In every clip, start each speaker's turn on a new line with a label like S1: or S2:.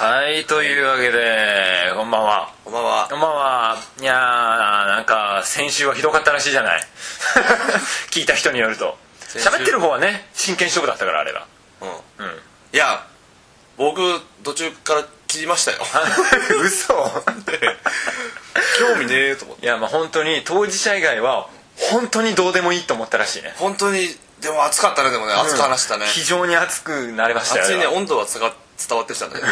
S1: はいというわけでこんばんは
S2: こんばんは
S1: こんばんはいやーなんか先週はひどかったらしいじゃない 聞いた人によると
S2: 週
S1: 喋ってる方はね真剣勝負だったからあれ だ
S2: う
S1: うん
S2: んいや僕途中から切りましたよ
S1: 嘘
S2: 興味ねえと思って
S1: いやまあ本当に当事者以外は本当にどうでもいいと思ったらしいね
S2: 本当にでも熱かったねでもね熱く話したね
S1: うん、非常に熱くなりましたよ
S2: 熱いね
S1: あれは
S2: 温度は伝わ伝わってきたんだけ ど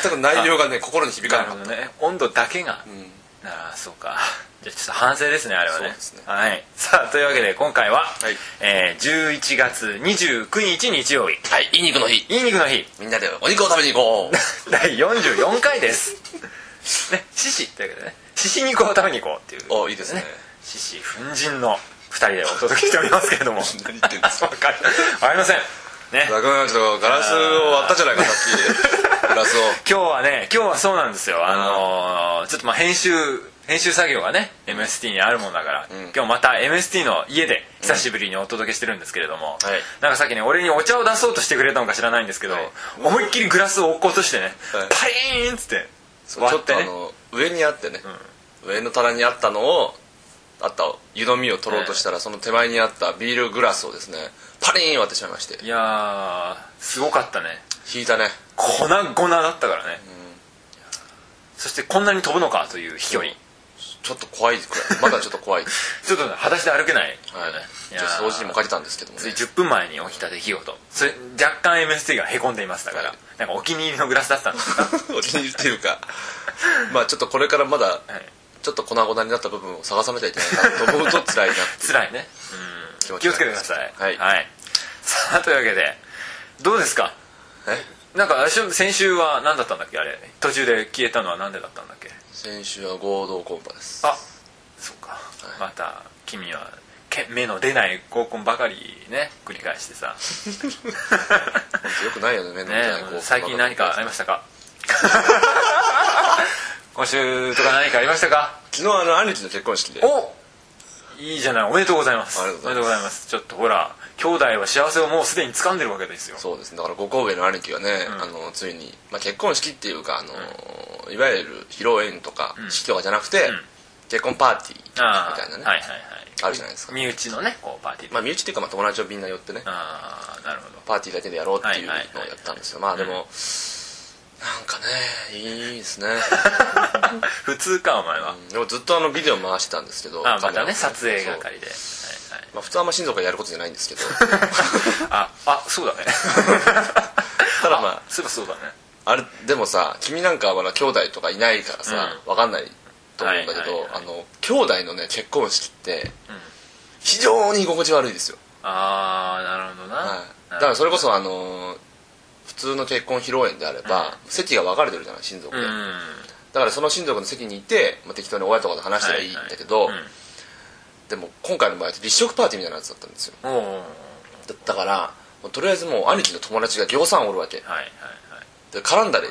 S2: 全く内容がね心に響か
S1: な
S2: な
S1: る
S2: か
S1: ほ
S2: っ
S1: どね温度だけが、
S2: た、うん
S1: ああそうか じゃあちょっと反省ですねあれはね
S2: そうですね
S1: はい、さあというわけで今回は、
S2: い
S1: えー、11月29日日曜日
S2: はいいい肉の日
S1: いい肉の日
S2: みんなでお肉を食べに行こう
S1: 第44回ですね獅子というわけでね獅子肉を食べに行こうっていう
S2: おいいですね
S1: 獅子奮陣の2人でお届けしておりますけ れども
S2: 何言ってんですか
S1: わかりわかりませんね
S2: 楽なんちょっとガラスを割ったじゃないかさっ きガラスを
S1: 今日はね今日はそうなんですよあのーちょっとまあ編集編集作業がね MST にあるもんだから、
S2: ん
S1: 今日また MST の家で久しぶりにお届けしてるんですけれども、
S2: はい
S1: なんかさっきね俺にお茶を出そうとしてくれたのか知らないんですけど、
S2: はい
S1: 思いっきりグラスを落っことしてね、
S2: はい
S1: パリーンっつって
S2: そうち
S1: 割
S2: ょ
S1: っ
S2: っ
S1: て
S2: とあ
S1: ね
S2: の上にあってね、上の棚にあったのをあった湯飲みを取ろうとしたら、その手前にあったビールグラスをですねパリーン割ってしまいまして
S1: いやーすごかったね
S2: 引いたね
S1: 粉々だったからね、そしてこんなに飛ぶのかという飛距離
S2: ちょっと怖いく らいまだちょっと怖い、はい、
S1: ちょっとね裸足で歩けない、い
S2: じ
S1: や
S2: ゃ
S1: ー
S2: あ掃除にもかけたんですけども
S1: つい
S2: ね
S1: 10分前に起きた出来事それ若干 MST がへこんでいますだから、
S2: はい
S1: なんかお気に入りのグラスだったんです
S2: お気に入りっていうかまあちょっとこれからまだ
S1: はい
S2: ちょっと粉々になった部分を探さなきゃいけないなと思うと辛いなって
S1: 辛いね、
S2: 気
S1: うん、
S2: 持
S1: 気
S2: ち
S1: を
S2: に
S1: つ
S2: な
S1: けてく
S2: りま
S1: だ
S2: す
S1: さい
S2: はい
S1: さあというわけでどうですか
S2: え
S1: なんかあれしょ先週は何だったんだっけあれ途中で消えたのは何でだったんだっけ
S2: 先週は合同コンパです
S1: あそうか、また君はけ目の出ない合コンばかりね繰り返してさ
S2: よくないよね目の
S1: ね
S2: 前にこう
S1: 最近何かありました か今週とか何かありましたか
S2: 昨日あの兄貴の結婚式で
S1: おいいじゃないおめでとうございます
S2: ありがとうございます
S1: すちょっとほら兄弟は幸せをもうすでに掴んでるわけですよ
S2: そうですねだから五神戸の兄貴がね、あのついに、まあ、結婚式っていうかあの、いわゆる披露宴とか式とかじゃなくて、
S1: ん
S2: 結婚パーティーみ
S1: ああ
S2: たいなねあ,、
S1: はいはい
S2: るじゃないです
S1: はい
S2: か、
S1: 身内のねこうパーティーで、
S2: まあ、身内っていうか、まあ、友達をみんな寄ってね
S1: ああなるほど
S2: パーティーだけでやろうっていうのを
S1: はい
S2: や
S1: はいはい
S2: ったんですよまあでも、なんかねいいで すね、
S1: 普通かお前は、
S2: うんでもずっとあのビデオ回してたんですけど
S1: ああまたね
S2: カメラを
S1: 撮影係で、
S2: そうまあ、普通はあんま親族がやることじゃないんで すけど
S1: はいはい、ああそう だね
S2: ただまあ
S1: そういえばそうだね
S2: あれでもさ君なんかはまだ兄弟とかいないからさ、わかんないと思うんだけど、
S1: はいはいはい
S2: あの兄弟のね結婚式って、非常に居心地悪いですよ、
S1: ああなるほどな、
S2: はい、だからそれこそあのー普通の結婚披露宴であれば、席が分かれてるじゃない親族
S1: う
S2: で、
S1: ん
S2: だからその親族の席にいて、まあ、適当に親とかと話したらいいんだけど、
S1: はいはい
S2: でも今回の場合立食パーティーみたいなやつだったんですよ
S1: うん、おおはい
S2: だだからもうとりあえずもう兄貴の友達がぎょうさんおるわけ
S1: はいはい
S2: で絡んだり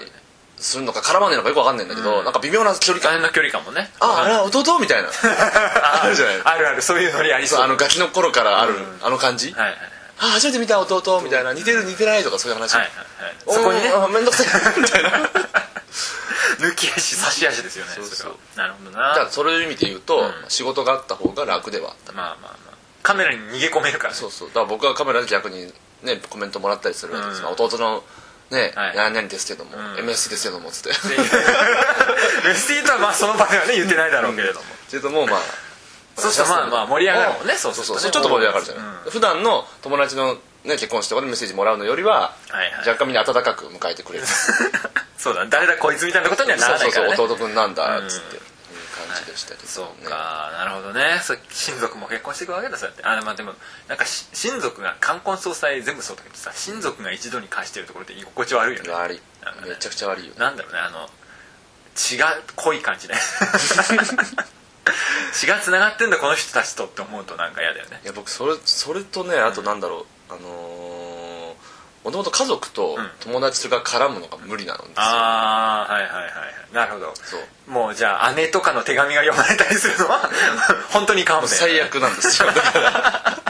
S2: するのか絡まんねえのかよく分かんないんだけど、なんか微妙な距離
S1: あ
S2: 感
S1: れの距離感もね
S2: あ、あれは弟みたいな。あるじゃない
S1: あるあるそういうノリありそう
S2: そう、あのガキの頃からある、あの感じ。
S1: はいはいはい
S2: あ、初めて見た弟みたいな。似てる似てないとかそういう話。
S1: はいはいはいそこにね
S2: おーあめんどくさ い。みたいな。だか
S1: 抜き足差し足ですよね
S2: そうそう
S1: れはなるほどな
S2: らそういう意味で言うと、仕事があった方が楽ではあった。
S1: まあまあまあカメラに逃げ込めるからね
S2: そうそう。だから僕はカメラで逆にね、コメントもらったりするわけです。
S1: うん
S2: まあ弟の、ね、
S1: はい
S2: 何々ですけども、
S1: ん
S2: MS ですけども、つって。
S1: っていう レスティーとはまあその場ではね言ってないだろうけれども
S2: けども、まあ。
S1: そうしたらまあまあ盛り上がるもんね
S2: ん
S1: そう
S2: そ
S1: す
S2: う
S1: る
S2: そ
S1: ね
S2: うそう。ちょっと盛り上がるじゃ
S1: うん
S2: ない。普段の友達のね、結婚式とかでメッセージもらうのよりは
S1: はいはい、
S2: 若干みんな温かく迎えてくれる。
S1: そうだね誰だこいつみたいなことにはならないからね
S2: そうそうそう弟くんなんだ
S1: うん
S2: っつって、いう感じでしたけど、ね
S1: そうかなるほどねそう親族も結婚していくわけだそうやってあでもでもなんかし親族が冠婚葬祭全部そうだけどさ親族が一度に貸してるところって居心地悪いよね
S2: 悪い
S1: なんかね
S2: めちゃくちゃ悪いよね
S1: なんだろうねあの血が濃い感じね 血がつながってんだこの人たちとって思うとなんか嫌だよね
S2: いや僕それそれとねあとなんだろう、あのー、もともと家族と
S1: うん
S2: 友達が絡むのが無理なんですよ、
S1: ああはいはいはいはいなるほど
S2: そう
S1: もうじゃあ姉とかの手紙が読まれたりするのは 本当に勘弁
S2: 最悪なんですよだか らだか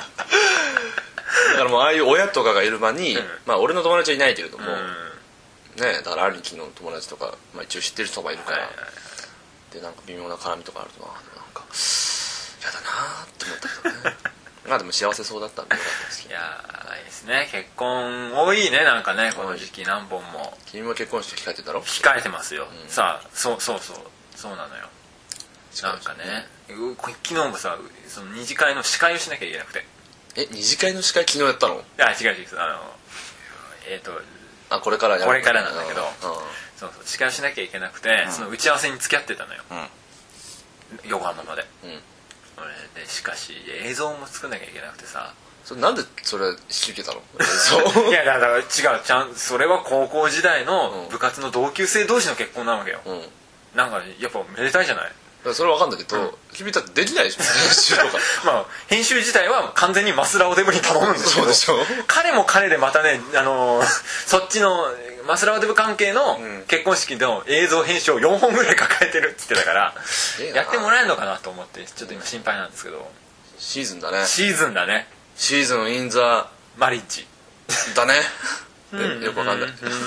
S2: らもうああいう親とかがいる場に、
S1: うん
S2: まあ俺の友達はいないけれども、
S1: うん
S2: ねだから兄貴の友達とか、まあ、一応知ってる人がいるから、
S1: はいはい
S2: でなんか微妙な絡みとかあるとなでもなんかやだなーって思ったけどね まあでも幸せそうだったんでよかったです
S1: い
S2: けど
S1: やーいいですね結婚多いねなんかねこの時期何本も
S2: 君も結婚式控えてたろ
S1: 控えてますよ、
S2: うん
S1: さあそうそうそうそうなのよなんかねうこ昨日もさその二次会の司会をしなきゃいけなくて
S2: え二次会の司会昨日やったの
S1: あ違う違うあのえっ、と
S2: あこれからやる
S1: これからなんだけど
S2: うん
S1: そうそう司会をしなきゃいけなくて、
S2: うん
S1: その打ち合わせに付き合ってたのよ
S2: うん
S1: 横浜まで
S2: うん
S1: えーでしかし映像も作んなきゃいけなくて さ
S2: それなんでそれ引き受けたのそう
S1: いやだから違うちゃんそれは高校時代の部活の同級生同士の結婚なわけよ、
S2: うんだか
S1: なんかやっぱめでたいじゃない
S2: らそれわかんないけど、
S1: うん
S2: 君だってできないでしょ 編集とか
S1: まあ編集自体は完全にマスラオデブに頼むんですけ
S2: そう
S1: ど
S2: でしょ
S1: 彼も彼でまたね、あのーそっちのマスラオデブ関係の
S2: うん
S1: 結婚式の映像編集を4本ぐらい抱えてるっつってたから
S2: げえな
S1: やってもらえるのかなと思ってちょっと今心配なんですけど
S2: シーズンだね
S1: シーズンだね
S2: シーズンインザ
S1: マリッジ
S2: だねねよくわかんない
S1: うんうんう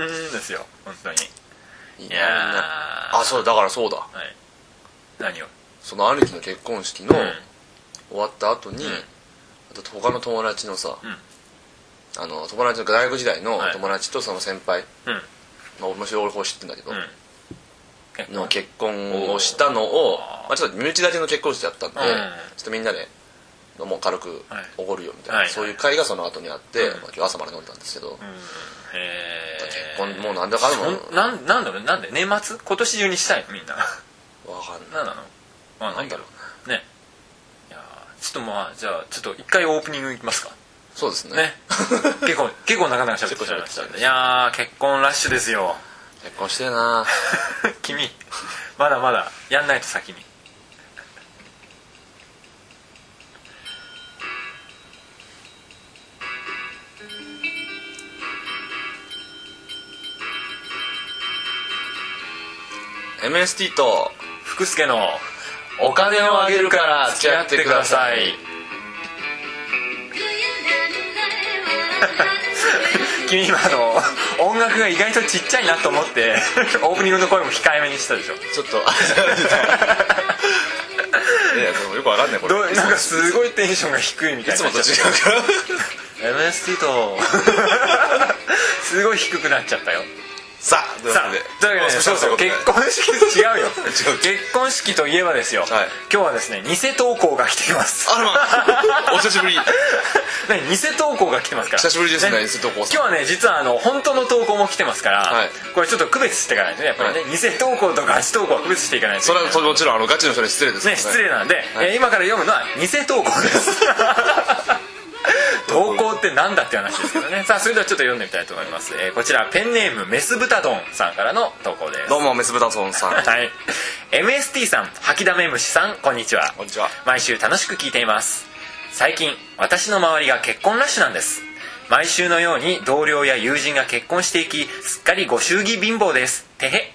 S1: んうんですよ本当に
S2: いい
S1: い
S2: なみんな
S1: やー
S2: あそうだからそうだ
S1: はい何を
S2: その兄貴の結婚式の
S1: うん
S2: 終わった後に、
S1: うん
S2: あと他の友達のさ、
S1: うん
S2: あの友達の大学時代の
S1: はい
S2: 友達とその先輩、
S1: うん
S2: まあ、面白い方知ってんだけど、
S1: うん結
S2: の
S1: 構
S2: 結婚をしたのを
S1: おー
S2: まあ、ちょっと身内だけの結婚式だったんで、
S1: うん
S2: ちょっとみんなで飲もう軽く
S1: はい
S2: おごるよみたいな、
S1: はい
S2: そういう会がその後にあって、
S1: うん
S2: まあ、今日朝まで飲んだんですけ
S1: う
S2: ど、
S1: んへ
S2: 結
S1: ー
S2: 婚もうなんだかんだも
S1: そんなんなんだろうなんで年末今年中にしたいのみんな
S2: わかんない
S1: 何なのまあ
S2: な
S1: なんん
S2: だ
S1: だ
S2: ろ
S1: ろう
S2: う
S1: ねいやーちょっとまあじゃあちょっと一回オープニングいきますか
S2: そうです ね
S1: ね結構結構なかなか喋ってしまいましたんでいやー結婚ラッシュですよ
S2: 結婚してえな
S1: 君まだまだやんないと先に
S2: ぁ MST と
S1: 福助の
S2: お金をあげるから付
S1: 付き
S2: き合
S1: 合
S2: っ
S1: ってて
S2: く
S1: く
S2: だ
S1: だ
S2: さ
S1: さ
S2: い
S1: い
S3: Thank
S1: 君今あの音楽が意外とちっちゃいなと思ってオープニングの声も控えめにしたでしょ
S2: ち ょっといやでもよくわかんないこれ
S1: どうなんかすごいテンションが低いみ
S2: い
S1: たい
S2: つ
S1: に
S2: も
S1: な
S2: と違う
S1: う
S2: から
S1: MST とすごい低くなっちゃったよ
S2: さあというわ
S1: さ
S2: けで
S1: あというわけでそうそう結婚式違うよ結婚式といえばですよ、
S2: はい
S1: 今日はですね偽投稿が来ています
S2: あらま お久しぶり
S1: ね偽投稿が来てますから
S2: 久しぶりですね偽投稿さん
S1: 今日はね実はあの本当の投稿も来てますから、
S2: はい
S1: これちょっと区別していかないとねやっぱりね、偽投稿とガチ投稿は区別していかないと
S2: それはもちろんあのガチの人に失礼です
S1: ね失礼なんで、
S2: は
S1: え
S2: い
S1: ー今から読むのは偽投稿です 投稿ってなんだって話ですけどねさあそれではちょっと読んでみたいと思います、えーこちらペンネームメスブタドンさんからの投稿です
S2: どうもメスブタソンさん
S1: はい MST さん吐きだめ虫さんこんにちは
S2: こんにちは
S1: 毎週楽しく聞いています最近私の周りが結婚ラッシュなんです毎週のように同僚や友人が結婚していきすっかりご祝儀貧乏ですてへ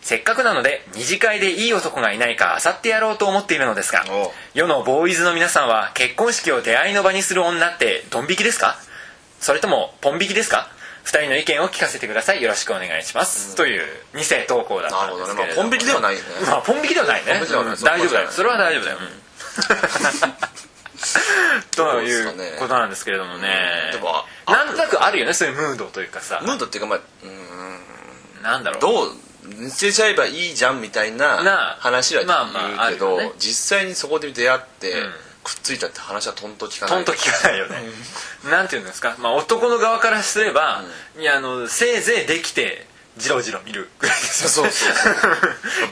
S1: せっかくなので二次会でいい男がいないか漁ってやろうと思っているのですが
S2: おう
S1: 世のボーイズの皆さんは結婚式を出会いの場にする女ってドン引きですかそれともポン引きですか2人の意見を聞かせてくださいよろしくお願いします、という偽投稿だっ
S2: な
S1: た
S2: る
S1: ん
S2: ほ
S1: です
S2: どね
S1: け
S2: ま
S1: れ
S2: あ
S1: ど
S2: ポ
S1: も
S2: ン引きではな
S1: まあポン引きではな
S2: いよね
S1: いね
S2: ポン引きではない
S1: うん大丈夫だよ
S2: そ
S1: そうれ
S2: か
S1: は大丈夫だよ、 という
S2: そうですかね
S1: ことなんですけれどもね
S2: でもあ
S1: なんとなくあるよねそういうムードというかさ
S2: ムードっていうかまあうーん
S1: なんだろう
S2: どう見せちゃえばいいじゃんみたいな
S1: なあ
S2: 話は
S1: まあまあ
S2: 言うけど、
S1: あるよね
S2: 実際にそこで出会って、
S1: ん
S2: くっついたって話はとんと聞か
S1: ト
S2: ない
S1: ンと聞かないよね、なんていうんですか、まあ、男の側からすれば、いやあのせいぜいできてジロジロ見るぐらいですよ
S2: そうそうそう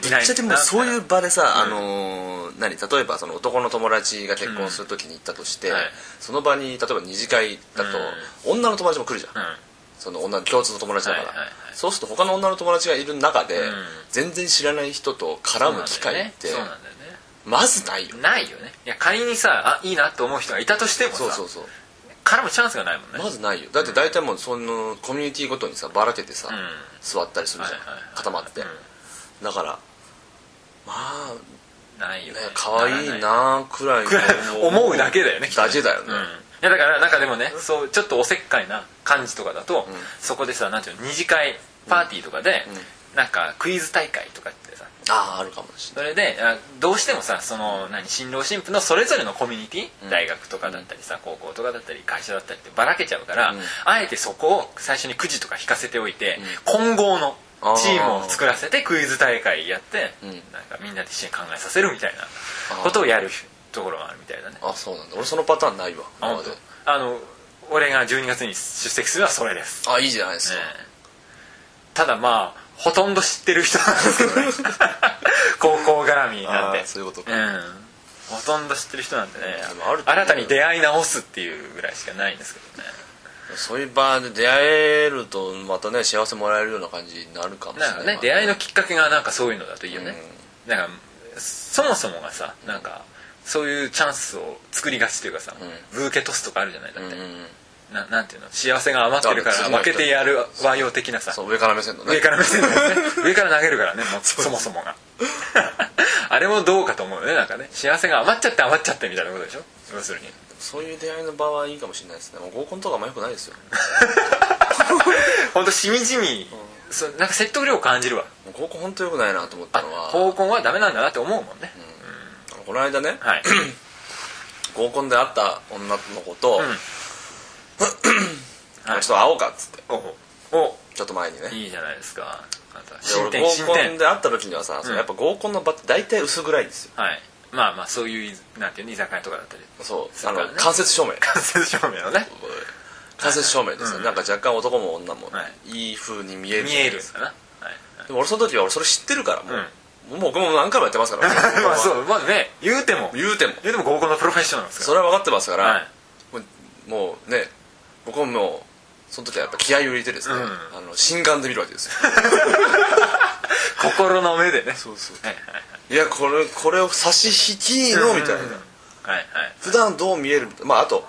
S2: ぶ
S1: い
S2: っ
S1: ない
S2: ちゃけもうそういう場でさ、あのー何例えばその男の友達が結婚するときに行ったとして、
S1: うんはい
S2: その場に例えば二次会だと、女の友達も来るじゃん、
S1: うん
S2: その女の共通の友達だから、
S1: はいはいはい
S2: そうすると他の女の友達がいる中で、
S1: ん
S2: 全然知らない人と絡む機会って、
S1: そうなんだよね
S2: まずないよ
S1: そうなんだよねないよねいや仮にさあいいなと思う人がいたとしてもさ
S2: そうそうそう
S1: 絡むチャンスがないもんね
S2: まずないよだって大体もうそのコミュニティごとにさばらけてさ、
S1: うん
S2: 座ったりするじゃん、
S1: はいはいはい
S2: 固まって、だからまあ
S1: ないよ
S2: ね
S1: ね
S2: 可愛い
S1: ら
S2: なくらい
S1: くらい思うだけだよねきっと
S2: だけだよね
S1: うんいやだからなんかでもねそうちょっとおせっかいな感じとかだと、そこでさなんていうの二次会パーティーとかで、なんかクイズ大会とかってさ
S2: あああるかもしれ
S1: それであどうしてもさその何新郎新婦のそれぞれのコミュニティ、
S2: ん
S1: 大学とかだったりさ高校とかだったり会社だったりってばらけちゃうから、
S2: うん
S1: あえてそこを最初にくじとか引かせておいて、混合の
S2: あー
S1: チームを作らせてクイズ大会やって、
S2: うん
S1: なんかみんなで一緒に考えさせるみたい
S2: あ
S1: な
S2: ー
S1: ことをやるところがあるみたいだね
S2: ないあそうなんだ俺そのパターンないわ
S1: あ
S2: 今ま
S1: 本
S2: で
S1: 当あの俺が12月に出席するのはそれです、
S2: あいいじゃないです
S1: ね
S2: か、
S1: ただまあほとんど知ってる人なんですけど ね高校絡みなん
S2: あ
S1: で
S2: ーそういうこと
S1: う
S2: か、
S1: んほとんど知ってる人なんでね
S2: でもあると思
S1: 新
S2: う
S1: たに出会い直すっていうぐらいしかないんですけどね
S2: そういう場で出会えるとまたね幸せもらえるような感じになるかもしれ
S1: なんか
S2: ない
S1: ね出会いのきっかけがなんかそういうのだといいよね、なんかそもそもがさなんかそういうチャンスを作りがちというかさ、
S2: ん
S1: ブーケトスとかあるじゃないだ
S2: う
S1: っ
S2: ん
S1: て、
S2: うんうん
S1: ななんていうの幸せが余ってるか
S2: だからら
S1: 負けてやる和洋的なさ
S2: そう上から目線のね
S1: 上から目線だよね 上から投げるからねもうそもそもが あれもどうかと思うよねなんかね幸せが余っちゃって余っちゃってみたいなことでしょ要する に
S2: そういう出会いの場はいいかもしれないですねもう合コンとかあんまよくないですよ
S1: 本当しみじみ、そうなんか説得力を感じるわ
S2: もう合コン本当よくないなと思った
S1: あ
S2: のは
S1: 合コンはダメなんだなって思うもんね、
S2: この間ね
S1: はい
S2: 合コンで会った女の子 と、
S1: ん
S2: あの人と会おうかっつって
S1: おうお
S2: ちょっと前にねで
S1: いいじゃないですかまた進
S2: 俺
S1: 展進
S2: 合コン
S1: 展
S2: で会った時にはさ、そのやっぱ合コンの場って大体薄暗いんですよ
S1: はいまあまあそういうなんていうの居酒屋とかだったり
S2: そう
S1: そう
S2: あの
S1: だね
S2: 間接照明
S1: 間接照明のね
S2: 間接照明ですね、なんか若干男も女も
S1: はい
S2: いい風に見える
S1: 見えるんだな、はい
S2: でも俺その時は俺それ知ってるからもう、もう僕も何回もやってますから
S1: まあそうまあね言うても
S2: 言うても
S1: 言うても合コンのプロフェッショナルですか
S2: それは分かってますからら、
S1: はい
S2: もうもうね僕ももうその時はやっぱ気合を入れてですね、
S1: うん
S2: あの心眼で見るわけですよ
S1: 心の目でね
S2: うそ
S1: はいはい
S2: いやこれこれを差し引きのみたいな、
S1: うんはいはい
S2: 普段どう見えるまああと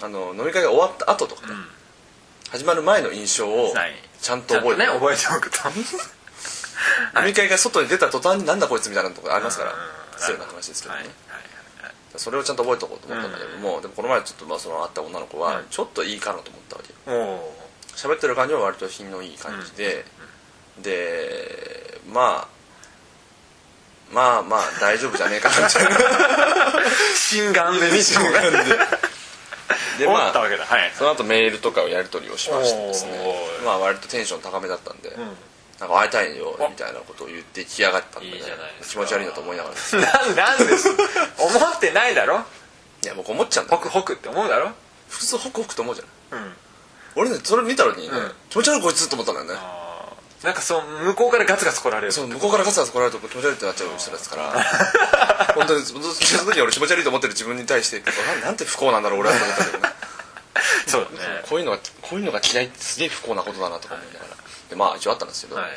S2: あの飲み会が終わった後とかね、
S1: ん
S2: 始まる前の印象を
S1: はい
S2: ちゃんと覚えて、
S1: ちゃんとね覚えておく と
S2: 飲み会が外に出た途端になんだこいつみたいなとこありますから、
S1: うん
S2: 失礼な話ですけど
S1: は
S2: ね、
S1: いはいはい
S2: それをちゃんと覚えておこうと思ったんだけども、でもこの前ちょっとまあその会った女の子
S1: う
S2: は
S1: ん
S2: ちょっといいかなと思ったわけよ
S1: おお
S2: 喋ってる感じは割と品のいい感じで、でまあまあまあ大丈夫じゃねえかなみたいな
S1: 心眼で見てもら
S2: で
S1: 思
S2: ま
S1: った
S2: あ
S1: わけだはい
S2: その後メールとかをやり取りをしましてですね
S1: おー
S2: まあ割とテンション高めだったんで、
S1: うん
S2: なんか会いたいよみたいなことを言ってきやがったんで,、ね、
S1: いいじゃないですか
S2: 気持ち悪いなと思いながらい
S1: なんなんです思ってないだろ
S2: や僕思っちゃうんだ
S1: ホク
S2: よ
S1: ホクって思うだろ
S2: 普通ホクホクと思うじゃない
S1: うん
S2: 俺ねそれ見た時にね、
S1: うん
S2: 気持ち悪いこいつと思ったんだよね
S1: あーなんかそう向こうからガツガツ来られる
S2: そう向こうからガツガツ来られると気持ち悪いってなっちゃう人ですから 本当にその時俺気持ち悪いと思ってる自分に対してなんなんて不幸なんだろう俺はと思っ たけどね
S1: そうだね
S2: こういうのがこういうのが嫌いってすげえ不幸なことだなとか思いながらでまあ一応あったんですけど、
S1: はい
S2: ま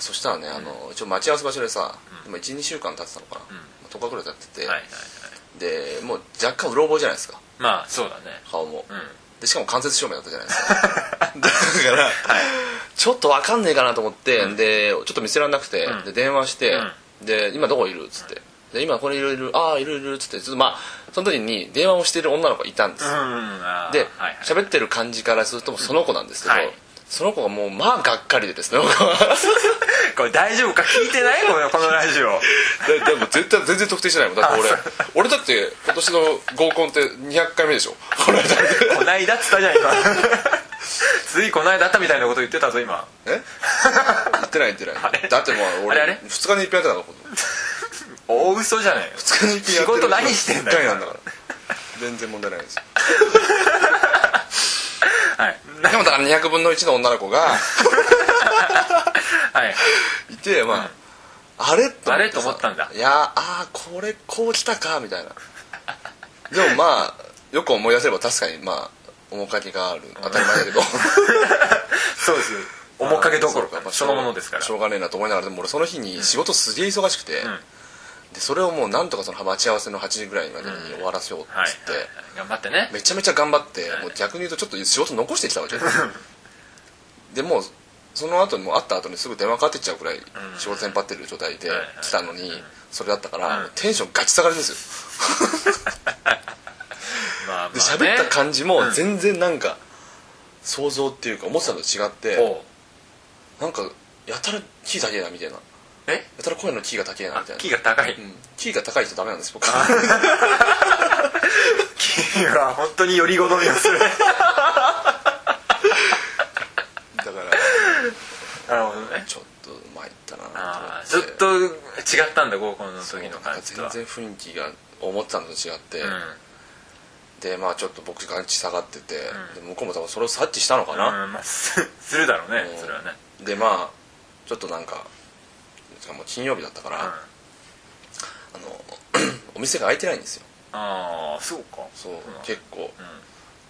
S2: あそしたらねあの一応待ち合わせ場所でさ、今12週間経ってたのかな、まあ10日ぐらい経って
S1: は
S2: て、
S1: いはいはい
S2: でもう若干うろ覚えじゃないですか
S1: まあそうだね
S2: 顔も、
S1: うん
S2: でしかも間接照明だったじゃないです かだから、ちょっとわかんねえかなと思って、でちょっと見せられなくて、
S1: ん
S2: で電話して、で今どこいるっつってで今これいるいるああいるいるっつってちょっとまあその時に電話をしてる女の子がいたんです、
S1: うんあー
S2: で
S1: はいはい
S2: 喋、ってる感じからするともうその子なんですけど、
S1: はい
S2: その子がもうまあがっかりでですね僕は
S1: これ大丈夫か聞いてないこのこのラジオ
S2: ででも絶対全然特定してないもんだって俺俺だって今年の合コンって200回目でしょこの間で
S1: こないだっつったじゃん今 ついこないだったみたいなこと言ってたぞ今
S2: え 言ってない言ってな
S1: れ
S2: いだってもう
S1: あれ
S2: 俺
S1: あれ
S2: 2日に一遍やってたのこ
S1: 大嘘じゃない
S2: 2日に一遍やってる
S1: 仕事何してんだよ
S2: 一回なんだから全然問題ないですよ
S1: はい
S2: でもだから200分の1の女の 子が
S1: はい
S2: いてまあ、あれと思ってさ
S1: あれと思ったんだ
S2: いやあーこれこう来たかみたいなでもまあよく思い出せれば確かにまあ面影がある当たり前だけど
S1: そうです 面影どころ
S2: そうま
S1: か
S2: あ
S1: そのものですから
S2: しょうがねえなと思いながらでも俺その日に仕事すげえ忙しくて、でそれをもうなんとかその待ち合わせの8時ぐらいまでに終わらせようっつって、
S1: はい頑張ってね
S2: めちゃめちゃ頑張って、もう逆に言うとちょっと仕事残してきたわけ ですよでもうその後にもう会った後にすぐ電話かかってきちゃうくらい仕事に張ってる状態で
S1: はいはい
S2: 来たのにそれだったか
S1: うん
S2: らもうテンションガチ下がりですよ
S1: まあまあね
S2: で喋った感じも全然なんか想像っていうか思ってたのと違って
S1: おう
S2: なんかやたらキー高えなみたいなや
S1: え
S2: たら声のキーが高えな
S1: あ
S2: みたいな
S1: キーが高い
S2: うんキーが高い人ダメなんです僕
S1: キーは本当により好みをす る
S2: だから
S1: なるほどね
S2: ちょっと参ったな
S1: ああ
S2: と
S1: ちょ
S2: 思
S1: ってと違ったんだ合コンの時の感じと
S2: 全
S1: は
S2: 然雰囲気が思ってたのと違って、
S1: う
S2: でまあちょっと僕感知下がってて、で向こうも多分それを察知したのかな、
S1: ん、うんまあ、すするだろうね
S2: うん
S1: それはね
S2: でまあちょっとなんかしかも金曜日だったから、
S1: うん
S2: あの お店が開いてないんですよ
S1: ああそうか
S2: そう、
S1: うん
S2: 結構
S1: うん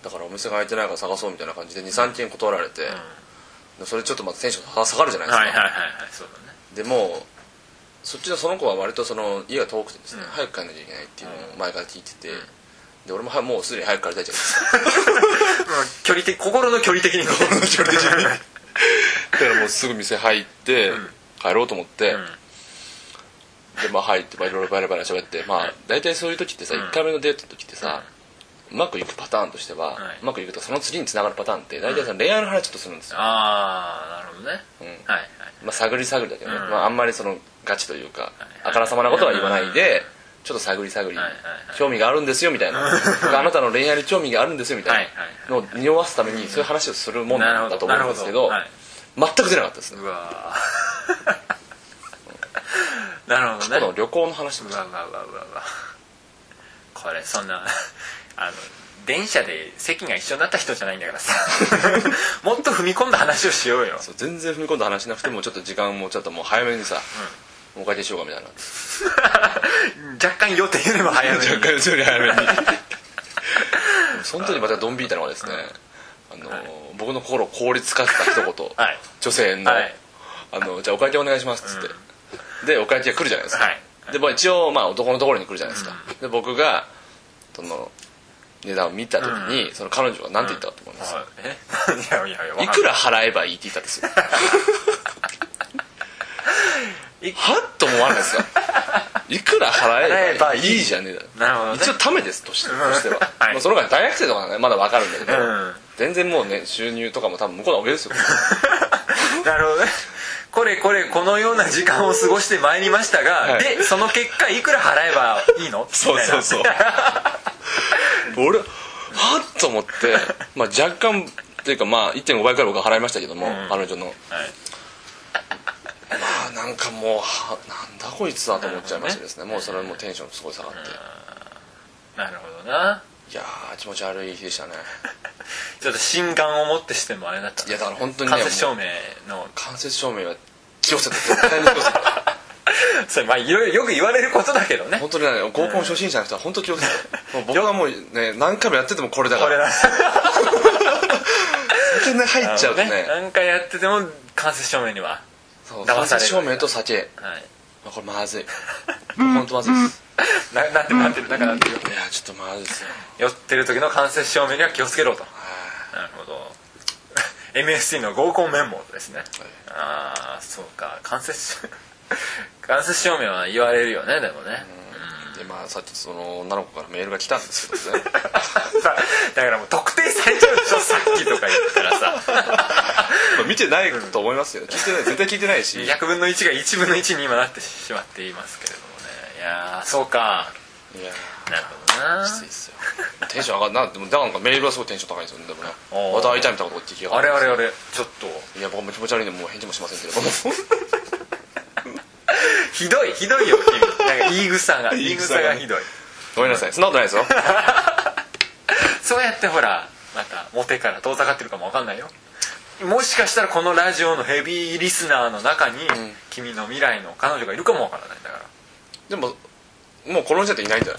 S2: だからお店が開いてないから探そうみたいな感じで23件断られて、
S1: う
S2: でそれちょっとまたテンション下がるじゃない
S1: ん
S2: ですか、
S1: はいはいはいはいそうだね
S2: でもうそっちのその子は割とその家が遠くてですね、
S1: うん
S2: 早く帰んなきゃいけないっていうのを前から聞いてて、
S1: ん
S2: で俺もはもうすでに早く帰りたいじゃないですか
S1: うん距離的心の距離的に心の距離的に
S2: だからもうすぐ店入って、
S1: ん
S2: 帰ろうと思って、
S1: うん
S2: でまあ入ってまあいろいろバラバラ喋ってまあ大体そういう時ってさ、
S1: うん
S2: 1回目のデートの時ってさ、うまくいくパターンとして
S1: は
S2: は、
S1: いう
S2: まくいくとかその次につながるパターンって大体さ、恋愛の話ちょっとするんですよ、
S1: ああなるほどね
S2: うん
S1: はいはい
S2: まあ、探り探りだけどね、
S1: うん
S2: まあ、あんまりそのガチというか、
S1: はい
S2: あからさまなことは言わないで、ちょっと探り探り、
S1: はいはいはい
S2: 興味があるんですよみたいな僕あなたの恋愛に興味があるんですよみたい
S1: はい
S2: なのを匂わすためにそういう話をするもん
S1: なる
S2: な
S1: ほ
S2: んだと
S1: ど
S2: 思
S1: な
S2: う
S1: るほ
S2: んですけ
S1: ど
S2: ど
S1: はい
S2: 全く出なかったですね
S1: うわーなるほどね
S2: この旅行の話と
S1: う
S2: か
S1: わうわうわうわうわこれそんな あの電車で席が一緒になった人じゃないんだから さもっと踏み込んだ話をしようよ
S2: そう全然踏み込んだ話しなくてもちょっと時間もちょっともう早めにさ、お会計しようかみたいな
S1: 若干予定よりも早めに
S2: 若干より早めに その時またドン引いたのはですね、あのー僕の心を凍りつかせた一言、
S1: はい
S2: 女性の,、
S1: はい
S2: あの「じゃあお会計お願いします」っつって、でお会計が来るじゃないですか、
S1: はい
S2: でまあ一応、まあ、男のところに来るじゃないですか、で僕がその値段を見た時に、その彼女は何て言ったかと思います、
S1: はいえ いやいやいやわかんない
S2: いくら払えばいいって言ったんですよはっと思わないですかいくら払えばいいじゃねえだろ
S1: なるほどね
S2: 一応ためですとしてとしては、
S1: はい
S2: まあ、そのが大学生とかはねまだわかるんだけど、
S1: うん
S2: 全然もうね収入とかも多分向こうの上ですよ
S1: なるほどねこれこれこのような時間を過ごしてまいりましたが、
S2: はい
S1: でその結果いくら払えばいいの
S2: そうそうそう俺はっと思って、まあ、若干っていうかまあ1.5倍くらい僕は払いましたけども、彼女の
S1: はい
S2: まあなんかもうはなんだこいつだと思っちゃいましてですねもうそれもテンションすごい下がって、
S1: なるほどない
S2: やー気持ち悪い日でしたね
S1: ちょっと心眼を持ってしてもあれだったない
S2: やだから本当にね
S1: 間接照明の
S2: 間接照明は気をつけて絶対に気をつけて
S1: それまあいろいろよく言われることだけどね
S2: 本当にね合コン初心者の人は本当に気をつけ てもう僕はもうね何回もやっててもこれだか
S1: これ
S2: ら
S1: だ
S2: 酒ね入っちゃ うとね
S1: 何回やってても間接照明には
S2: そう
S1: 騙される
S2: 間接照明と酒
S1: はい
S2: まあこれまずい本当まずいです
S1: ななってるなってるだからってる
S2: いやちょっとまずいですよ
S1: 酔ってる時の間接照明には気をつけろと
S2: は
S1: なるほど MSC の合コンメモですね、ああそうか間接 照間接照明は言われるよねでもね、
S2: いでまあさっきその女の子からメールが来たんです けどね
S1: さだからもう特定されちゃうでしょさっきとか言ったらさ
S2: まあ見てないと思いますよ聞いてない絶対聞いてないしいや
S1: 100分の1が1分の1に今なってしまっていますけれどもねいやーそうか
S2: ー
S1: なるほどな
S2: きついっすよテンション上がるなでもなんかメールはすごいテンション高いんですよねでもね
S1: おー
S2: また会いたいみたいなこと言ってきやが
S1: あ
S2: って
S1: れあれあれちょっと
S2: いや僕も気持ち悪いんでもう返事もしませんけれども
S1: ひどいひどいよ君なんか言い草が言
S2: 言
S1: い
S2: い
S1: 草
S2: 草
S1: が
S2: が
S1: ひどい
S2: ごめんなさいそんなことないですよ
S1: そうやってほらまたモテから遠ざかってるかもわかんないよもしかしたらこのラジオのヘビーリスナーの中に、
S2: ん
S1: 君の未来の彼女がいるかもわからないんだから
S2: でももうこの時点でいないんだよ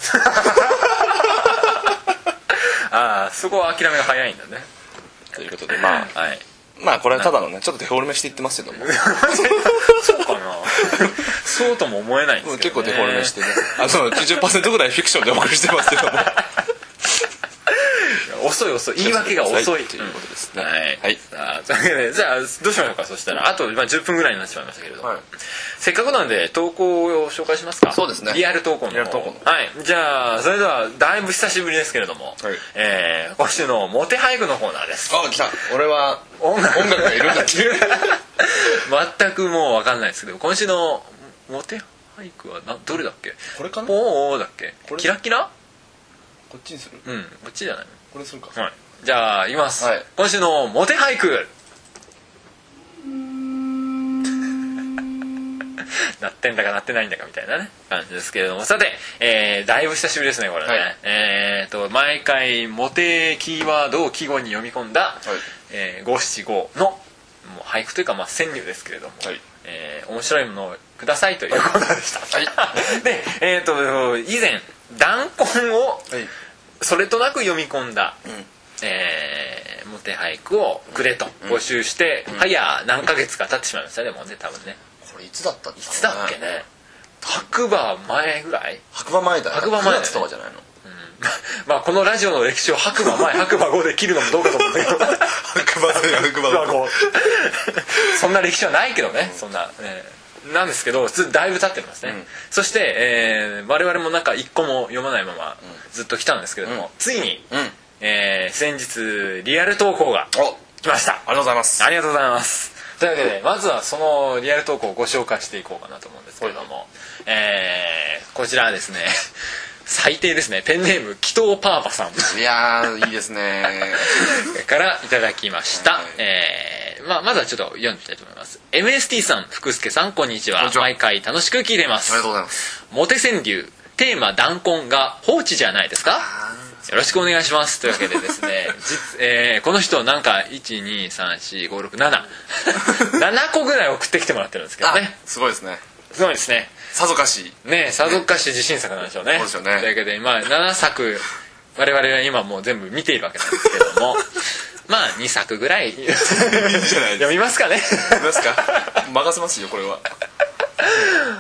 S1: ああそこは諦めが早いんだね
S2: ということでまあ
S1: はい
S2: まあこれはただのねちょっとデフォルメしていってますけども
S1: そうかなそうとも思えないんで
S2: も
S1: す
S2: う
S1: け
S2: 結
S1: ど、ね、
S2: 構デフォルメしてねあの90%ぐらいフィクションでお送りしてますけども
S1: 恐遅い遅い言い訳が遅い
S2: ということです
S1: は
S2: ね
S1: い、
S2: はい
S1: さあというわけでじゃあどうしましょうかそしたらあと、まあ、10分ぐらいになってしまいましたけれど、
S2: はい
S1: せっかくなんで投稿を紹介しますか
S2: そうですね
S1: リアル投稿の方
S2: リアル投稿の
S1: はいじゃあそれではだいぶ久しぶりですけれども、
S2: はい
S1: えー今週のモテ俳句のコーナーです
S2: あ来た俺は
S1: 音楽
S2: 音楽がいるんだっていう
S1: 全くもう分かんないですけど今週のモテ俳句はなどれだっけ
S2: これかなこ
S1: おーおーだっけ
S2: これ
S1: キラキラ
S2: っちにする
S1: うんこっちじゃない
S2: これするか
S1: はい、じゃあいきます、
S2: はい
S1: 今週のモテ俳 句なってんだかなってないんだかみたいなね感じですけれどもさて、えーだいぶ久しぶりですねこれね、
S2: はい
S1: えー、と毎回モテキーワードを季語に読み込んだ、えー五七五のもう俳句というかまあ川柳ですけれども、
S2: はい
S1: えー面白いものをくださいというコ ーナーでした、
S2: はい
S1: でえー、と以前弾痕を
S2: はい
S1: それとなく読み込んだ、
S2: ん
S1: えーモテ俳句をくれと募集して、早何ヶ月か経ってしまいましたねもうね多分ね
S2: これいつだったい
S1: いつだっけね白馬前ぐらい、
S2: 白馬前だよ
S1: 白馬前だよ
S2: 9月とかじゃない
S1: う
S2: の
S1: んまあこのラジオの歴史を白馬 前白馬後で切るのもどうかと思うんだけど
S2: 白馬前白馬
S1: 白馬後 そんな歴史はないけどね、そんな、えーなんですけどずだいぶ経ってますね、
S2: ん
S1: そして、えー我々もなんか一個も読まないままずっと来たんですけれども、
S2: うん
S1: ついに、
S2: うん
S1: えー先日リアル投稿が
S2: おあり
S1: 来ました
S2: がとうございます
S1: ありがとうございますというわけでまずはそのリアル投稿をご紹介していこうかなと思うんですけれども、えーこちらはですね最低ですねペンネーム紀藤パーパさん
S2: いやーいいですね
S1: からいただきました、
S2: はい
S1: えーまあ、まずはちょっと読んでみたいと思います MST さん福助さんこんにちは
S2: こんにちは
S1: 毎回楽しく聞いていま
S2: あ
S1: す
S2: りがとうございます
S1: モテ川柳テーマ弾痕が放置じゃないですかよろしくお願いしますというわけでです ね実、えーこの人なんか12345677 7個ぐらい送ってきてもらってるんですけど
S2: あ
S1: ね
S2: すごいですね
S1: すごいですね
S2: さぞかし
S1: ねえさぞかし自信作なんでしょうね
S2: そうですよね
S1: というわけで、まあ、7作我々は今もう全部見ているわけなんですけど もまあ2作ぐらい
S2: いいじゃない
S1: 読みます かね
S2: ですか任せますよこれは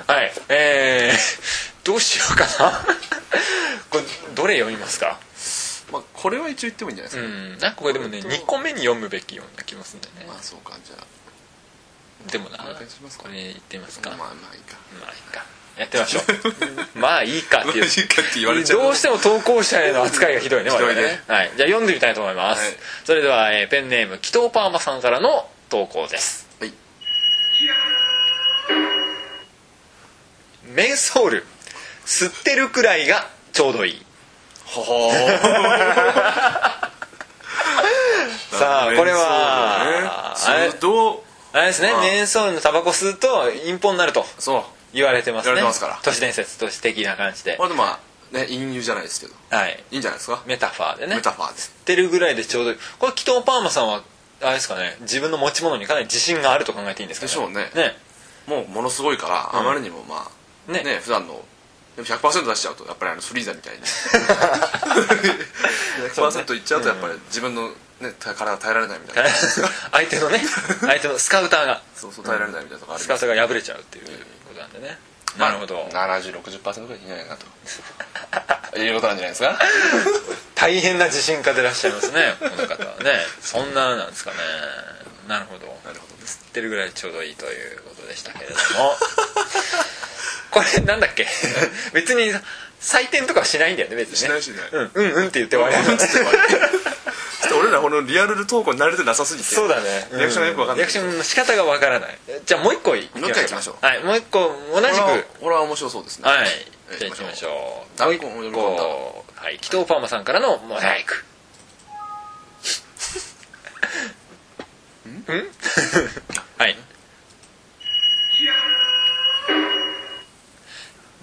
S1: はいえー、どうしようかなこれどれ読みますか
S2: まあこれは一応言ってもいいんじゃないで
S1: う
S2: すか、
S1: んなんかこれでもね2個目に読むべきような気もするんだよね
S2: まあそうかじゃ
S1: でもな
S2: お願いしますか
S1: これ言ってみます
S2: あ
S1: かま
S2: まあまあいいか
S1: あいいかやってみましょ うまあいいかっていう
S2: かって言われちゃう
S1: どうしても投稿者への扱いがひどいね
S2: ひどいね
S1: 我々ねはい、じゃあ読んでみたいと思います、
S2: はい
S1: それでは、えーペンネーム紀藤パーマさんからの投稿です
S2: はい
S1: メンソール吸ってるくらいがちょうどいい
S2: ほほー
S1: さあこれは
S2: そうだねそう
S1: あれですね
S2: まあ
S1: メンソールのタバコ吸うと陰謀になると
S2: そう
S1: 言われてますね
S2: 言われてますから
S1: 都市伝説都市的な感じで
S2: これでもまあね隠入じゃないですけど
S1: はい
S2: いいんじゃないですか
S1: メタファーでね
S2: メタファーです
S1: 吸ってるぐらいでちょうどいいこれ紀藤パーマさんはあれですかね自分の持ち物にかなり自信があると考えていいんですかね
S2: でしょうね
S1: ね
S2: もうものすごいからあまりにもまあ
S1: ね
S2: ね普段のでも100%出しちゃうとやっぱりあのフリーザみた いに100%いっちゃうとやっぱり自分のね体が耐えられないみたいな
S1: 相手の ね相手のスカウターが
S2: そうそう耐えられないみたいなとこある
S1: スカウターが破れちゃうっていうことなんでねなるほど
S2: 7060%ぐらいいいんじゃないかと いうことなんじゃないですか
S1: 大変な自信家でいらっしゃいますねこの方はねそんななんですかねなるほど
S2: なるほどです
S1: 吸ってるぐらいちょうどいいということでしたけれども これなんだっけ 別に採点とかはしないんだよね別にね
S2: しないしない
S1: うん、うんうんって言って終わり
S2: ちょっと俺らこのリアル投稿慣れてなさすぎ て
S1: そうだね
S2: リアクションがよくわかんな
S1: リア
S2: い
S1: クションの仕方がわからないじゃあもう一個いき
S2: もう一回いきましょう
S1: はいもう一個同じく
S2: これはこれは面白そうですね
S1: はい
S2: はい
S1: じゃあいきましょう
S2: ダンコンを読み込んだ
S1: こうはい紀藤パーマさんからのモザイクんはい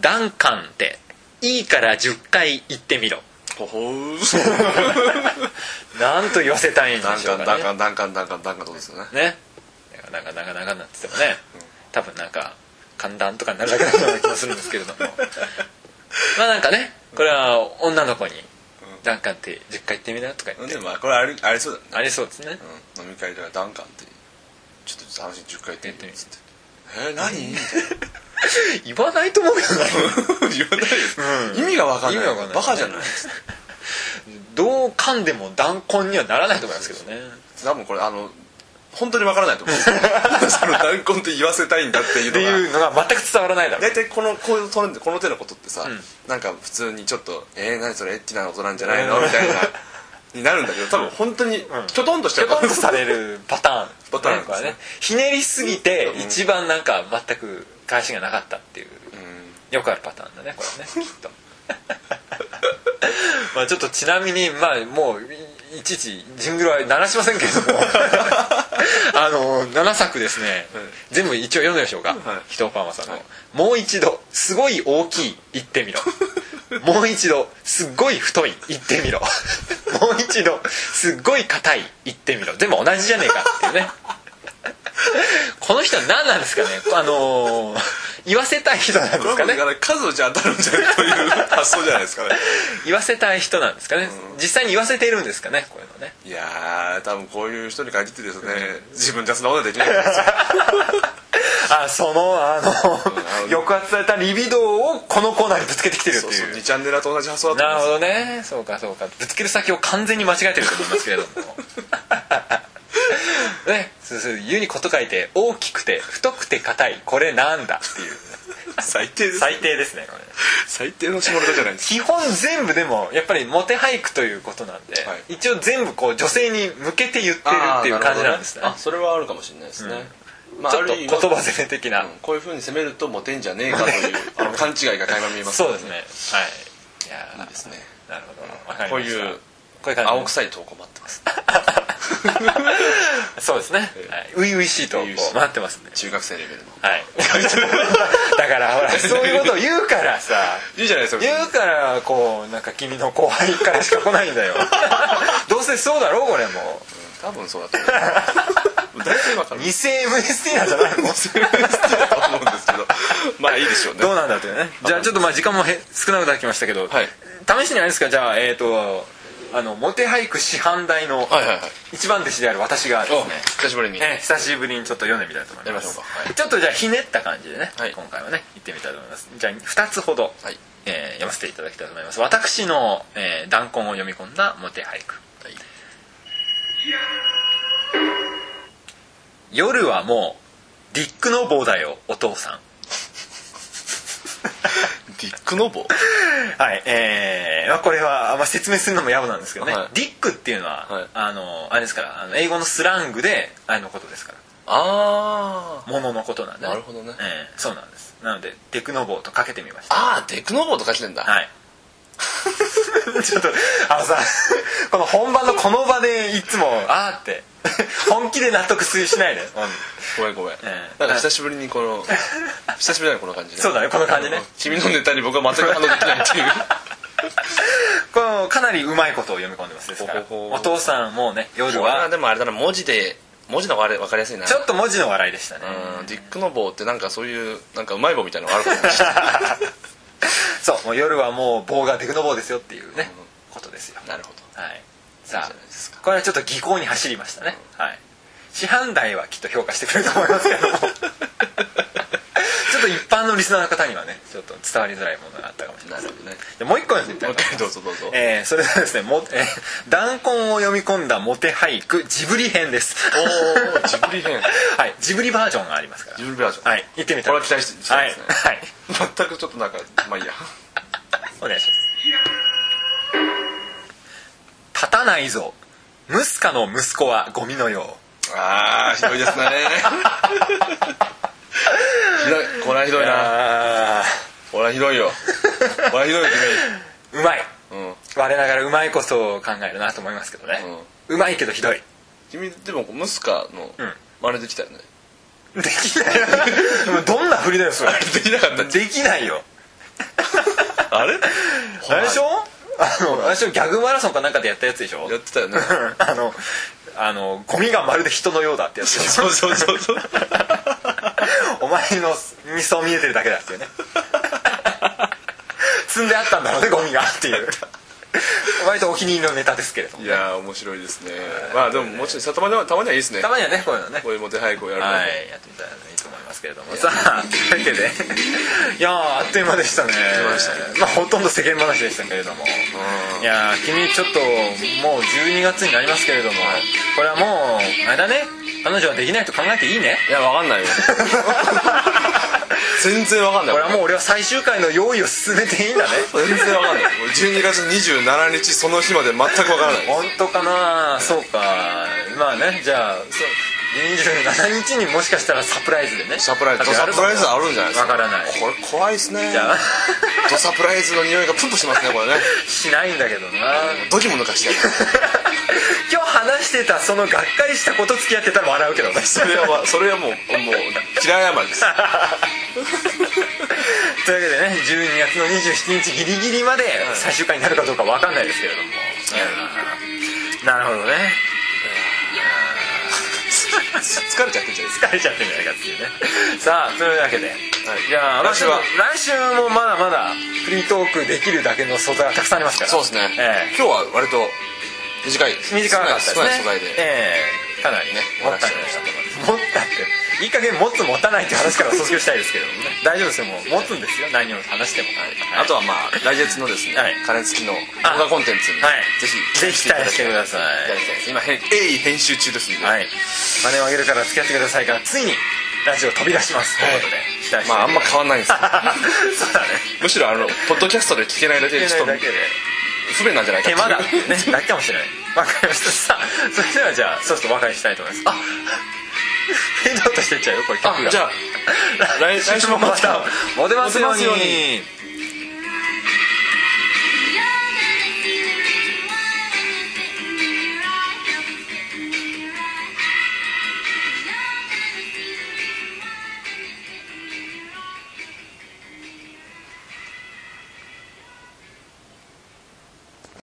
S1: ダンカンっていいから10回言ってみろ
S2: ほほー
S1: なんと言わせたいんで
S2: ダン
S1: しょ
S2: カ
S1: うか
S2: ンダン
S1: ね
S2: カンダンカンダンカンダンカンどうですよね
S1: ねなんかなんかなんかなんかなんつってもね、多分なんか寒暖とかになるだけだったような気もするんですけ れどもまあなんかねこれは女の子に「ダンカンって10回言ってみな」とか言って、
S2: でもまあこれありありそうだね
S1: ありそうですね
S2: うん、飲み会ではダンカンってちょっと話10回言ってみるっつって「えー、何?」 みたい
S1: 言わないと思うけどな
S2: な言わないよ、意味が分かんない
S1: 意味わかんない
S2: バカじゃない
S1: どどう噛んでも弾痕にはならないと思いますけどね
S2: 多分これあの本当にわからない と思うその弾痕って言わせたいんだっていう
S1: って
S2: のが
S1: いうのが全く伝わらないだろう
S2: 大体このこういうこのこの手のことってさ、なんか普通にちょっと「えー、何それエッチなことなんじゃないの?」みたいなになるんだけど多分本当にきょとんとし
S1: ち
S2: て
S1: ょこんとされるパターン、
S2: パターンですね
S1: これねひねりすぎて
S2: うん
S1: 一番なんか全く返しがなかったっていうよくあるパターンだねこれねきっとまあちょっとちなみにまあもういいちいちジングルは鳴らしませんけれども あの7作ですね、全部一応読んでみましょうか、
S2: はい
S1: ひとパンマさんの、
S2: はい
S1: もう一度すごい大きい言って みろ」「もう一度すっごい太い言って みろ」「もう一度すっごい硬い言ってみろ」全部同じじゃねえかっていう ねこの人は何なんですかねあのー言わせたい人なんです
S2: こ
S1: か
S2: れ
S1: ね
S2: だから数打ち当たるんじゃないという発想じゃないで すかね
S1: 言わせたい人なんですかね、実際に言わせているんですかねこういうのね
S2: いやー多分こういう人に限ってですね、自分じゃそんなことはできないから
S1: あそのあ の
S2: うん
S1: 抑圧されたリビドーをこのコーナーにぶつけてきてる って
S2: そう
S1: い
S2: そうう2チャンネルと同じ発想だと
S1: なる
S2: 思い
S1: ほ
S2: ま
S1: どねそうかそうかぶつける先を完全に間違えてると思います けれどもねそうそう「湯にこと書いて大きくて太くて硬いこれなんだ」っていう
S2: す最低です
S1: 最低ですねこれ
S2: 最低の下ネタじゃないですか
S1: 基本全部でもやっぱりモテ俳句ということなんで、
S2: はい
S1: 一応全部こう女性に向けて言ってるっていう感じなんですね
S2: あそれはあるかもしれないですね、まあ、
S1: ち
S2: あ
S1: ょっと
S2: る
S1: 言
S2: 意味
S1: 葉攻め的な、
S2: うんこういうふうに攻めるとモテんじゃねえかというあの勘違いが垣間見えます
S1: そうですねはいいやー
S2: いいですね
S1: なるほどわかり
S2: こう
S1: まし
S2: い
S1: た
S2: う
S1: こういう感じ
S2: 青臭い投稿待ってます
S1: そうですね
S2: ええ
S1: はい初々、しいとこ
S2: 初々しいう
S1: 待ってますね
S2: 中学生レベルの
S1: はい。 だからほら そういうことを言うからさ
S2: いいじゃないですか
S1: 言うからこうなんか君の後輩からしか来ないんだ よどうせそうだろこれも
S2: 多分そうだと思う大体わ かる
S1: 偽 MST なんじゃないの
S2: と思うんですけどまあいいでしょうね
S1: どうなんだっていうねじゃあちょっとまあ時間もへ少なくなってきましたけど、
S2: はい
S1: 試しにあれですかじゃあえっ、とあのモテ俳句師範代の
S2: はいはいはい
S1: 一番弟子である私がですね、
S2: 久しぶりに
S1: ええ久しぶりにちょっと読んでみたいと思います
S2: やりましょうかはい
S1: ちょっとじゃあひねった感じでね、
S2: はい
S1: 今回はね行ってみたいと思いますじゃあ2つほど、
S2: はい
S1: えー読ませていただきたいと思います私の、えー、弾痕を読み込んだモテ俳句、
S2: はい
S1: 夜はもうディックノボーだよお父さん
S2: ディック・ノボ
S1: はいえーまあ、これは、まあ、説明するのも野暮なんですけどね、
S2: はい
S1: ディックっていうのは、
S2: はい
S1: あのあれですからあの英語のスラングであれのことですから
S2: あー
S1: もののことなんで、
S2: なるほどね
S1: ええそうなんですなのでデクノボーとかけてみました
S2: あーディック・ノボとかしてんだ
S1: はい ちょっとあのさこの本番のこの場でいつもあーって本気で納得しないで、
S2: ごめんごめん、
S1: ええ
S2: なんか久しぶりにこの久しぶりだねこの感じね
S1: そうだねこの感じね
S2: うん君のネタに僕は全く反応できないっていう
S1: このかなりうまいことを読み込んでますですから
S2: ほほほ
S1: お父さんもうね夜
S2: これは
S1: は
S2: でも あれだな文字で文字の方があれ分かりやすいな
S1: ちょっと文字の笑いでしたね
S2: うんディック・ノボってなんかそういうなんかうまい棒みたいなのがあるかもしれない
S1: そうもう夜はもう棒がデクノボーですよっていうねことですよ
S2: なるほど
S1: はい
S2: いい
S1: さ
S2: じゃないです
S1: あこれはちょっと技巧に走りましたねはい師範代はきっと評価してくれると思いますけ どもちょっと一般のリスナーの方にはねちょっと伝わりづらいものがあったかもしれない
S2: なるほど ね
S1: でもう一個読んでみたい
S2: もう
S1: と
S2: 一
S1: 思い
S2: 回
S1: ます
S2: どうぞどうぞ
S1: えーそれではですねも、えー弾痕を読み込んだモテ俳句ジブリ編です
S2: おージブリ編
S1: はいジブリバージョンがありますから
S2: ジブリバージョン
S1: はい行ってみた
S2: こ
S1: い
S2: れ
S1: と
S2: は期待してし
S1: は
S2: たい
S1: い、
S2: ですね
S1: はい、
S2: 全くちょっとなんかまあいいや
S1: お願いします立たないぞムスカの息子はゴミのよ
S2: あーひどいですねひどいこれはひど
S1: う
S2: いな
S1: あ
S2: これはひどい よこれはひどいよ
S1: ーうまい
S2: 君うん
S1: 我ながらうまいこそ考えるなと思いますけどね、うまいけどひどい
S2: 君でもムスカの
S1: うん
S2: 真似できたよね
S1: できないもう どんな振りだよそれ
S2: できなかっ
S1: できないよ
S2: たあれ
S1: あれでしょあのあれでしょギャグマラソンかなんかでやったやつでしょ
S2: やってたよね
S1: あのあのゴミがまるで人のようだってやつでしょ
S2: そうそうそうそう
S1: お前のにそう見えてるだけだ っていうね積んであったんだろうねゴミがっていう割とお気に入りのネタですけれども
S2: いやー面白いですねまあでももちろんさたまにはたまにはいいですね
S1: たまにはねこういうのね
S2: こういうモテ俳句をやるのも、
S1: はいやってみたらいいと思いますけれどもさあというわけでいやーあっという間でしたね
S2: 間でしたね
S1: まあほとんど世間話でしたけれども
S2: うん
S1: いやー君ちょっともう12月になりますけれどもこれはもうあれだね彼女はできないと考えてい いね
S2: いやわかんないよ全然わかんない
S1: これはもう俺は最終回の用意を進めていいんだね
S2: 全然わかんない俺12月27日その日まで全くわからない
S1: 本当かなそうかまあねじゃあそう27日にもしかしたらサプライズでね
S2: サプライズドサプライズあるんじゃないです
S1: わ
S2: か
S1: からない
S2: これ怖いですね
S1: じゃあ
S2: ドサプライズの匂いがプンとしますねこれね
S1: しないんだけどな
S2: ドキも抜かしてやる
S1: 今日話してたそのがっかりしたこと付き合ってたら笑うけどね
S2: それは それはもうもう平山 です
S1: というわけでね12月の27日ギリギリまで最終回になるかどうか分かんないですけれども、なるほどね
S2: 疲れちゃってんじゃないですか
S1: 疲れちゃってんじゃないかっていうねさあというわけで、じゃあ
S2: 来週は
S1: 来週もまだまだフリートークできるだけの素材がたくさんありますから
S2: そうですね、
S1: え
S2: 今日は割と短い
S1: え短かったですね
S2: 少ない少ない素材で、
S1: ええかなりね
S2: ね
S1: 持ったんじゃないかと思います持ったっていい加減持つ持たないって話から卒業したいですけどもね大丈夫ですよもう持つんですよ何を話しても、
S2: あとはまあ来月のですね、
S1: はい
S2: 金付きの動
S1: あ
S2: 画コンテンツに、
S1: はい
S2: ぜひ
S1: ぜひ期待してください
S2: いただきたいです今へん鋭意編集中ですんで、
S1: はい金をあげるから付き合ってくださいからついにラジオ飛び出しますということで期待して
S2: まああんま変わんないんですよ
S1: そうだね
S2: むしろあのポッドキャストで聞けないだけでちょっと不便なんじゃないか
S1: 手間だ
S2: っ
S1: ね
S2: ていう
S1: だけかもしれないわかりましたさあそれではじゃあそろそろお別れしたいと思いますあフェードアウトしてっちゃうよこれ曲が
S2: あじゃあ来
S1: 来週もまたモテますように